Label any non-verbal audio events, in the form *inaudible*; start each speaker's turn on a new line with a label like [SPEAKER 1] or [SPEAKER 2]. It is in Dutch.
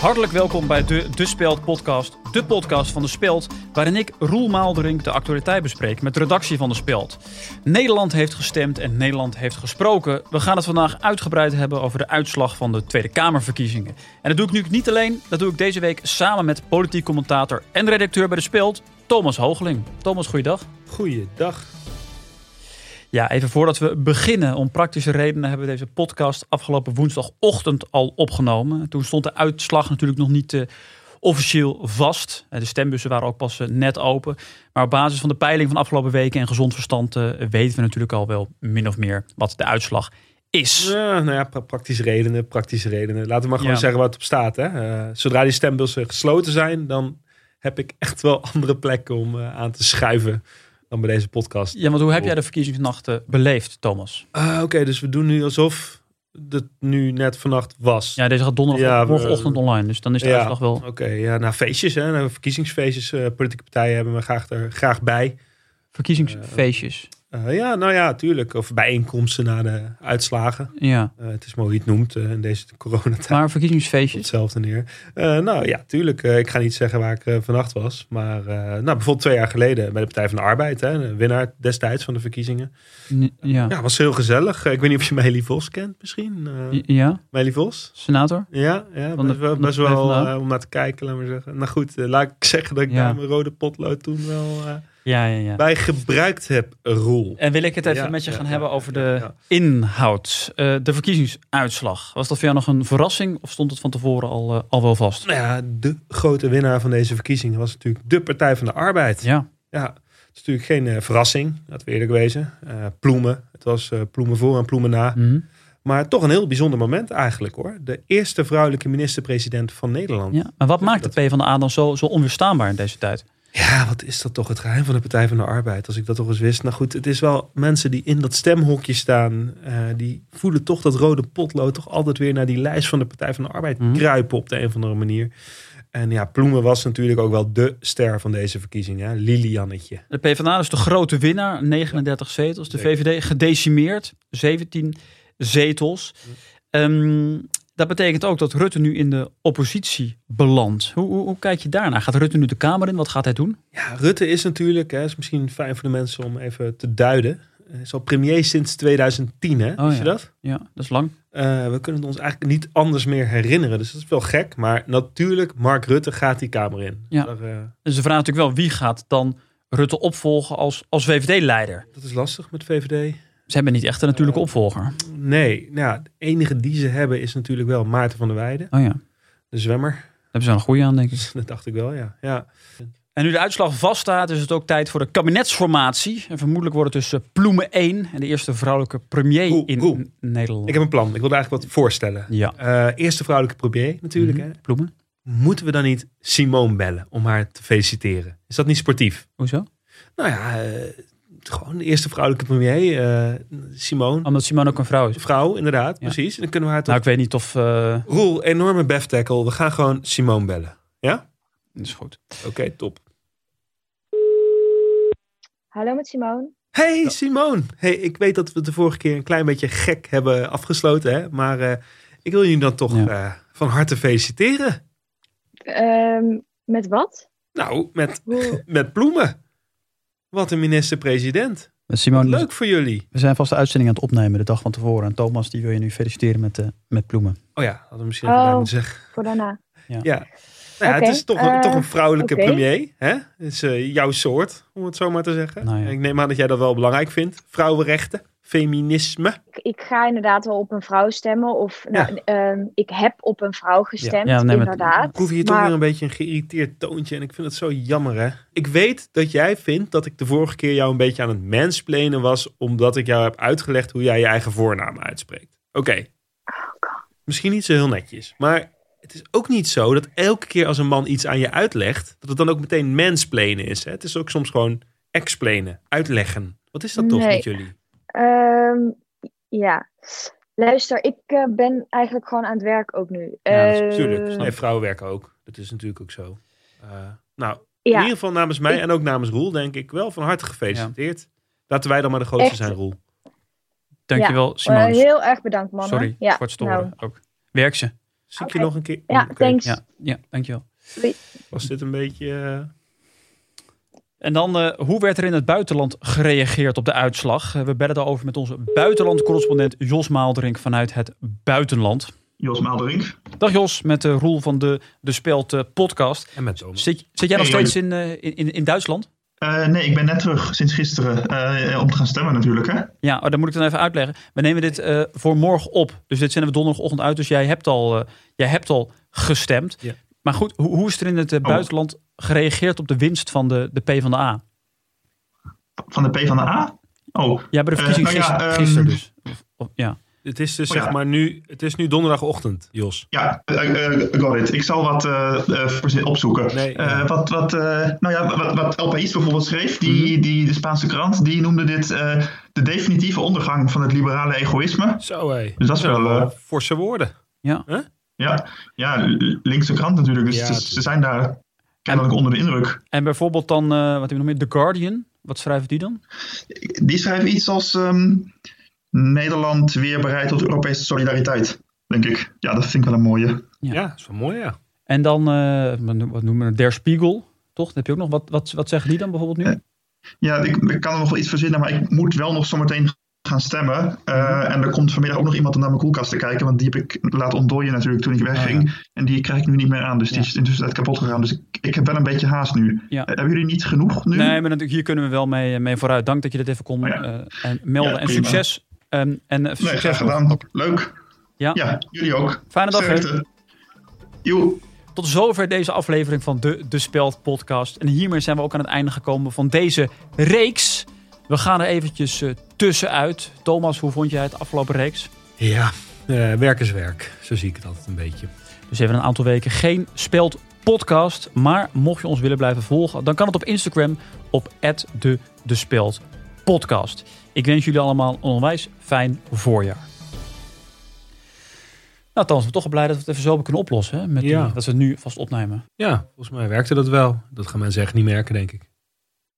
[SPEAKER 1] Hartelijk welkom bij de, de Speld podcast, de podcast van de Speld, waarin ik, Roel Maaldering, de actualiteit bespreek met de redactie van de Speld. Nederland heeft gestemd en Nederland heeft gesproken. We gaan het vandaag uitgebreid hebben over de uitslag van de Tweede Kamerverkiezingen. En dat doe ik nu niet alleen, dat doe ik deze week samen met politiek commentator en redacteur bij de Speld, Thomas Hoogling. Thomas, goeiedag.
[SPEAKER 2] Goeiedag.
[SPEAKER 1] Ja, even voordat we beginnen, om praktische redenen hebben we deze podcast afgelopen woensdagochtend al opgenomen. Toen stond de uitslag natuurlijk nog niet eh, officieel vast. Eh, De stembussen waren ook pas eh, net open. Maar op basis van de peiling van afgelopen weken en gezond verstand eh, weten we natuurlijk al wel min of meer wat de uitslag is.
[SPEAKER 2] Ja, nou ja, pra- praktische redenen, praktische redenen. Laten we maar gewoon
[SPEAKER 1] Ja.
[SPEAKER 2] zeggen waar het op staat. Hè? Eh, zodra die stembussen gesloten zijn, dan heb ik echt wel *laughs* andere plekken om eh, aan te schuiven dan bij deze podcast.
[SPEAKER 1] Ja, want hoe heb jij de verkiezingsnacht eh, beleefd, Thomas?
[SPEAKER 2] Ah, Oké, dus we doen nu alsof het nu net vannacht was.
[SPEAKER 1] Ja, deze gaat donderdag
[SPEAKER 2] Ja, we-
[SPEAKER 1] morgenochtend online, dus dan is de
[SPEAKER 2] Ja.
[SPEAKER 1] uitslag wel...
[SPEAKER 2] Oké, ja, nou feestjes, hè, nou, verkiezingsfeestjes. eh, politieke partijen hebben we graag er graag bij.
[SPEAKER 1] Verkiezingsfeestjes.
[SPEAKER 2] Eh, ja, nou ja, tuurlijk. Of bijeenkomsten na de uitslagen.
[SPEAKER 1] Ja,
[SPEAKER 2] Eh, het is maar hoe je het noemt eh, in deze coronatijd.
[SPEAKER 1] maar
[SPEAKER 2] Op
[SPEAKER 1] verkiezingsfeestjes.
[SPEAKER 2] hetzelfde neer. Eh, nou ja, tuurlijk. eh, ik ga niet zeggen waar ik eh, vannacht was. Maar eh, nou, bijvoorbeeld twee jaar geleden bij de Partij van de Arbeid. Hè, de winnaar destijds van de verkiezingen.
[SPEAKER 1] N- Ja.
[SPEAKER 2] Ja, was heel gezellig. Eh, ik weet niet of je Meili Vos kent misschien. eh
[SPEAKER 1] J- Ja,
[SPEAKER 2] Meili Vos?
[SPEAKER 1] senator?
[SPEAKER 2] Ja, ja
[SPEAKER 1] Van de-
[SPEAKER 2] best wel,
[SPEAKER 1] van de
[SPEAKER 2] best
[SPEAKER 1] Partij van de
[SPEAKER 2] wel
[SPEAKER 1] Arbeid.
[SPEAKER 2] eh, om naar te kijken, laat maar zeggen. Nou goed, eh, laat ik zeggen dat ik
[SPEAKER 1] Ja.
[SPEAKER 2] daar mijn rode potlood toen wel eh,
[SPEAKER 1] Ja, ja, ja.
[SPEAKER 2] bij gebruikt heb, Roel.
[SPEAKER 1] En wil ik het even
[SPEAKER 2] Ja,
[SPEAKER 1] met je
[SPEAKER 2] ja,
[SPEAKER 1] gaan
[SPEAKER 2] ja,
[SPEAKER 1] hebben
[SPEAKER 2] ja,
[SPEAKER 1] over
[SPEAKER 2] ja,
[SPEAKER 1] de
[SPEAKER 2] ja.
[SPEAKER 1] inhoud. Eh, de verkiezingsuitslag. Was dat voor jou nog een verrassing of stond het van tevoren al, eh, al wel vast?
[SPEAKER 2] Nou ja, de grote winnaar van deze verkiezingen was natuurlijk de Partij van de Arbeid.
[SPEAKER 1] Ja,
[SPEAKER 2] Ja, het is natuurlijk geen eh, verrassing, laten we eerlijk wezen. Eh, ploemen, het was eh, ploemen voor en ploemen na.
[SPEAKER 1] Mhm.
[SPEAKER 2] Maar toch een heel bijzonder moment eigenlijk hoor. De eerste vrouwelijke minister-president van Nederland. Ja.
[SPEAKER 1] ja. Maar wat maakt
[SPEAKER 2] dat-
[SPEAKER 1] de P van de A dan zo, zo onweerstaanbaar in deze tijd?
[SPEAKER 2] wat is dat toch het geheim van de Partij van de Arbeid. Als ik dat toch eens wist. Nou goed, het is wel mensen die in dat stemhokje staan. eh, die voelen toch dat rode potlood toch altijd weer naar die lijst van de Partij van de Arbeid
[SPEAKER 1] Mhm.
[SPEAKER 2] kruipen op de een of andere manier. En ja, Ploemen was natuurlijk ook wel de ster van deze verkiezing. Hè? Liliannetje.
[SPEAKER 1] De PvdA is de grote winnaar, 39 zetels. De
[SPEAKER 2] Zeker.
[SPEAKER 1] VVD gedecimeerd, 17 zetels. Ehm, dat betekent ook dat Rutte nu in de oppositie belandt. Hoe, hoe, hoe kijk je daarnaar? Gaat Rutte nu de Kamer in? Wat gaat hij doen?
[SPEAKER 2] Ja, Rutte is natuurlijk, hè, is misschien fijn voor de mensen om even te duiden. Hij is al premier sinds 2010, hè?
[SPEAKER 1] Oh,
[SPEAKER 2] Wist je
[SPEAKER 1] ja.
[SPEAKER 2] dat?
[SPEAKER 1] Ja, dat is lang.
[SPEAKER 2] Eh, we kunnen het ons eigenlijk niet anders meer herinneren. Dus dat is wel gek. Maar natuurlijk, Mark Rutte gaat die kamer in.
[SPEAKER 1] Ja.
[SPEAKER 2] Daar, eh,
[SPEAKER 1] Dus de vraag is natuurlijk wel, wie gaat dan Rutte opvolgen als, als VVD-leider?
[SPEAKER 2] dat is lastig met VVD.
[SPEAKER 1] Ze hebben niet echt een natuurlijke
[SPEAKER 2] Eh,
[SPEAKER 1] opvolger.
[SPEAKER 2] Nee, nou, ja, de enige die ze hebben is natuurlijk wel Maarten van der Weijden.
[SPEAKER 1] Oh ja, daar
[SPEAKER 2] De zwemmer. *laughs*
[SPEAKER 1] hebben ze wel een goede aan, denk ik.
[SPEAKER 2] Dat dacht ik wel, ja. ja.
[SPEAKER 1] En nu de uitslag vaststaat, is het ook tijd voor de kabinetsformatie. En vermoedelijk wordt het dus eh, Ploemen 1 en de eerste vrouwelijke premier
[SPEAKER 2] Oeh,
[SPEAKER 1] in
[SPEAKER 2] oeh.
[SPEAKER 1] N- Nederland.
[SPEAKER 2] Ik heb een plan. Ik wilde eigenlijk wat voorstellen.
[SPEAKER 1] Ja,
[SPEAKER 2] Eh, eerste vrouwelijke premier natuurlijk.
[SPEAKER 1] Mhm.
[SPEAKER 2] Hè.
[SPEAKER 1] Ploemen.
[SPEAKER 2] Moeten we dan niet Simone bellen om haar te feliciteren? Is dat niet sportief?
[SPEAKER 1] Hoezo?
[SPEAKER 2] Nou ja, eh, gewoon de eerste vrouwelijke premier, eh Simone.
[SPEAKER 1] Omdat Simone ook een vrouw is.
[SPEAKER 2] Vrouw, inderdaad,
[SPEAKER 1] Ja.
[SPEAKER 2] precies. En dan kunnen we haar toch...
[SPEAKER 1] Nou, ik weet niet of... eh,
[SPEAKER 2] Roel, enorme bef tackle. We gaan gewoon Simone bellen.
[SPEAKER 1] dat is goed.
[SPEAKER 2] Oké, top.
[SPEAKER 3] Hallo met Simone.
[SPEAKER 2] Hey Simone! Hey, ik weet dat we de vorige keer een klein beetje gek hebben afgesloten, hè? maar eh, ik wil jullie dan toch
[SPEAKER 1] Ja.
[SPEAKER 2] eh, van harte feliciteren.
[SPEAKER 3] Ehm, met wat?
[SPEAKER 2] Nou, met, *laughs*
[SPEAKER 3] Hoe...
[SPEAKER 2] met bloemen. Wat een minister-president.
[SPEAKER 1] Eh, Simone,
[SPEAKER 2] Leuk voor jullie.
[SPEAKER 1] we zijn vast de uitzending aan het opnemen de dag van tevoren. En Thomas, die wil je nu feliciteren met, eh, met Ploemen.
[SPEAKER 2] Oh ja, hadden we misschien
[SPEAKER 3] Oh.
[SPEAKER 2] even daar moeten zeggen.
[SPEAKER 3] Voor daarna.
[SPEAKER 2] Ja. Nou ja,
[SPEAKER 3] Oké,
[SPEAKER 2] het is toch,
[SPEAKER 3] eh,
[SPEAKER 2] toch een vrouwelijke
[SPEAKER 3] oké.
[SPEAKER 2] premier. Hè? Het is eh, jouw soort, om het zo maar te zeggen.
[SPEAKER 1] Nou ja.
[SPEAKER 2] Ik neem aan dat jij dat wel belangrijk vindt. Vrouwenrechten, feminisme.
[SPEAKER 3] Ik, ik ga inderdaad wel op een vrouw stemmen. Of nou, ehm, ik heb op een vrouw gestemd,
[SPEAKER 1] Ja, nee, maar-
[SPEAKER 3] inderdaad.
[SPEAKER 2] Ik hoef hier toch
[SPEAKER 3] Maar-
[SPEAKER 2] weer een beetje een geïrriteerd toontje. En ik vind het zo jammer, hè. Ik weet dat jij vindt dat ik de vorige keer jou een beetje aan het mansplainen was. Omdat ik jou heb uitgelegd hoe jij je eigen voornaam uitspreekt. Oké. Misschien niet zo heel netjes. Maar het is ook niet zo dat elke keer als een man iets aan je uitlegt. dat het dan ook meteen mansplainen is. Hè? Het is ook soms gewoon explainen, uitleggen. Wat is dat toch
[SPEAKER 3] Nee.
[SPEAKER 2] met jullie?
[SPEAKER 3] Ehm, ja. Luister, ik eh, ben eigenlijk gewoon aan het werk ook nu.
[SPEAKER 1] Ja, dat is
[SPEAKER 3] Ehm,
[SPEAKER 2] Tuurlijk. Nee, vrouwen werken ook. Dat is natuurlijk ook zo. Eh, nou, In
[SPEAKER 3] ja,
[SPEAKER 2] ieder geval namens mij
[SPEAKER 3] Ik-
[SPEAKER 2] en ook namens Roel, denk ik, wel van harte gefeliciteerd. Laten wij dan maar de grootste
[SPEAKER 3] Echt.
[SPEAKER 2] zijn, Roel.
[SPEAKER 1] Dankjewel,
[SPEAKER 3] eh,
[SPEAKER 1] Simone.
[SPEAKER 3] heel erg bedankt, mannen.
[SPEAKER 1] Sorry
[SPEAKER 3] ja,
[SPEAKER 1] voor het
[SPEAKER 3] nou,
[SPEAKER 1] storen ook. Werk ze.
[SPEAKER 2] Zie ik
[SPEAKER 3] Oké.
[SPEAKER 2] je nog een keer?
[SPEAKER 3] Ja,
[SPEAKER 2] Oké.
[SPEAKER 3] thanks.
[SPEAKER 1] Ja, ja, dankjewel.
[SPEAKER 2] Was dit een beetje... eh,
[SPEAKER 1] En dan, eh, hoe werd er in het buitenland gereageerd op de uitslag? Eh, we bellen daarover met onze buitenlandcorrespondent Jos Maaldrink vanuit het buitenland.
[SPEAKER 4] Jos Maalderink.
[SPEAKER 1] Dag Jos, met de Roel van de, de Speld eh, podcast.
[SPEAKER 2] en met Thomas.
[SPEAKER 1] Zit, zit jij nog
[SPEAKER 4] Hey,
[SPEAKER 1] steeds in, eh, in, in, in Duitsland?
[SPEAKER 4] Eh, nee, ik ben net terug sinds gisteren eh, om te gaan stemmen natuurlijk. Hè?
[SPEAKER 1] Ja, oh, dat moet ik dan even uitleggen. We nemen dit eh, voor morgen op. Dus dit zenden we donderdagochtend uit. Dus jij hebt al, eh, jij hebt al gestemd.
[SPEAKER 2] Ja.
[SPEAKER 1] Maar goed, hoe, hoe is er in het eh,
[SPEAKER 4] Oh.
[SPEAKER 1] buitenland gereageerd op de winst van de, de PvdA?
[SPEAKER 4] Van de P van de A. Oh,
[SPEAKER 1] Ja, bij de
[SPEAKER 4] Eh,
[SPEAKER 1] verkiezing
[SPEAKER 4] nou ja,
[SPEAKER 1] gisteren,
[SPEAKER 4] ehm,
[SPEAKER 1] gisteren dus. Of- of- ja.
[SPEAKER 2] Het is dus
[SPEAKER 4] Oh, ja.
[SPEAKER 2] zeg maar nu... Het is nu donderdagochtend, Jos.
[SPEAKER 4] ja, eh, eh, got it. Ik zal wat eh, eh, voorzien- opzoeken.
[SPEAKER 2] Nee,
[SPEAKER 4] Eh,
[SPEAKER 2] ja.
[SPEAKER 4] wat, wat, eh, nou ja, wat, wat El País bijvoorbeeld schreef,
[SPEAKER 2] Mhm.
[SPEAKER 4] die, die, de Spaanse krant, die noemde dit eh, de definitieve ondergang van het liberale egoïsme.
[SPEAKER 2] Zo hé.
[SPEAKER 4] Dus dat is wel... eh,
[SPEAKER 2] Forse woorden.
[SPEAKER 4] ja, ja, linkse krant natuurlijk. Dus
[SPEAKER 2] Ja,
[SPEAKER 4] ze- ze
[SPEAKER 2] tuurlijk.
[SPEAKER 4] zijn daar kennelijk onder de indruk.
[SPEAKER 1] En bijvoorbeeld dan, eh, wat hebben we nog meer? The Guardian. Wat schrijft die dan?
[SPEAKER 4] Die schrijven iets als ehm, Nederland weer bereid tot Europese solidariteit, denk ik. Ja, dat vind ik wel een mooie.
[SPEAKER 1] Ja.
[SPEAKER 2] Ja, dat is wel mooi ja.
[SPEAKER 1] En dan, eh, wat noemen we het? Der Spiegel. Toch? Dat heb je ook nog. Wat, wat, wat zeggen die dan bijvoorbeeld
[SPEAKER 4] Eh,
[SPEAKER 1] nu?
[SPEAKER 4] Ja, ik, ik kan er nog wel iets verzinnen, maar ik moet wel nog zometeen gaan stemmen. Eh, en er komt vanmiddag ook nog iemand om naar mijn koelkast te kijken, want die heb ik laten ontdooien natuurlijk toen ik wegging. En die krijg ik nu niet meer aan, dus die
[SPEAKER 1] Ah, Ja.
[SPEAKER 4] is intussen tijd kapot gegaan. Dus ik, ik heb wel een beetje haast nu.
[SPEAKER 1] Ja.
[SPEAKER 4] Eh, hebben jullie niet genoeg nu?
[SPEAKER 1] Nee, maar natuurlijk, hier kunnen we wel mee, eh, mee vooruit. Dank dat je dat even kon
[SPEAKER 4] Oh ja.
[SPEAKER 1] eh, en melden.
[SPEAKER 4] Ja,
[SPEAKER 1] en
[SPEAKER 4] prima.
[SPEAKER 1] succes. Ehm, en eh,
[SPEAKER 4] Nee, graag
[SPEAKER 1] succes. nog.
[SPEAKER 4] gedaan. Leuk.
[SPEAKER 1] Ja.
[SPEAKER 4] ja, jullie ook.
[SPEAKER 1] Fijne dag. hè.
[SPEAKER 4] Sterkte. Joe.
[SPEAKER 1] Tot zover deze aflevering van de De Speld podcast. En hiermee zijn we ook aan het einde gekomen van deze reeks. We gaan er eventjes eh, tussenuit. Thomas, hoe vond jij het afgelopen reeks?
[SPEAKER 2] Ja, eh, werk is werk. Zo zie ik het altijd een beetje.
[SPEAKER 1] Dus even een aantal weken geen Speld podcast. Maar mocht je ons willen blijven volgen, dan kan het op Instagram op de De Speld podcast. Ik wens jullie allemaal een onwijs fijn voorjaar. Nou, Thomas, we zijn toch blij dat we het even zo kunnen oplossen. Hè? Met die-
[SPEAKER 2] Ja.
[SPEAKER 1] dat we het nu vast opnemen.
[SPEAKER 2] Ja, volgens mij werkte dat wel. Dat gaan mensen echt niet merken, denk ik.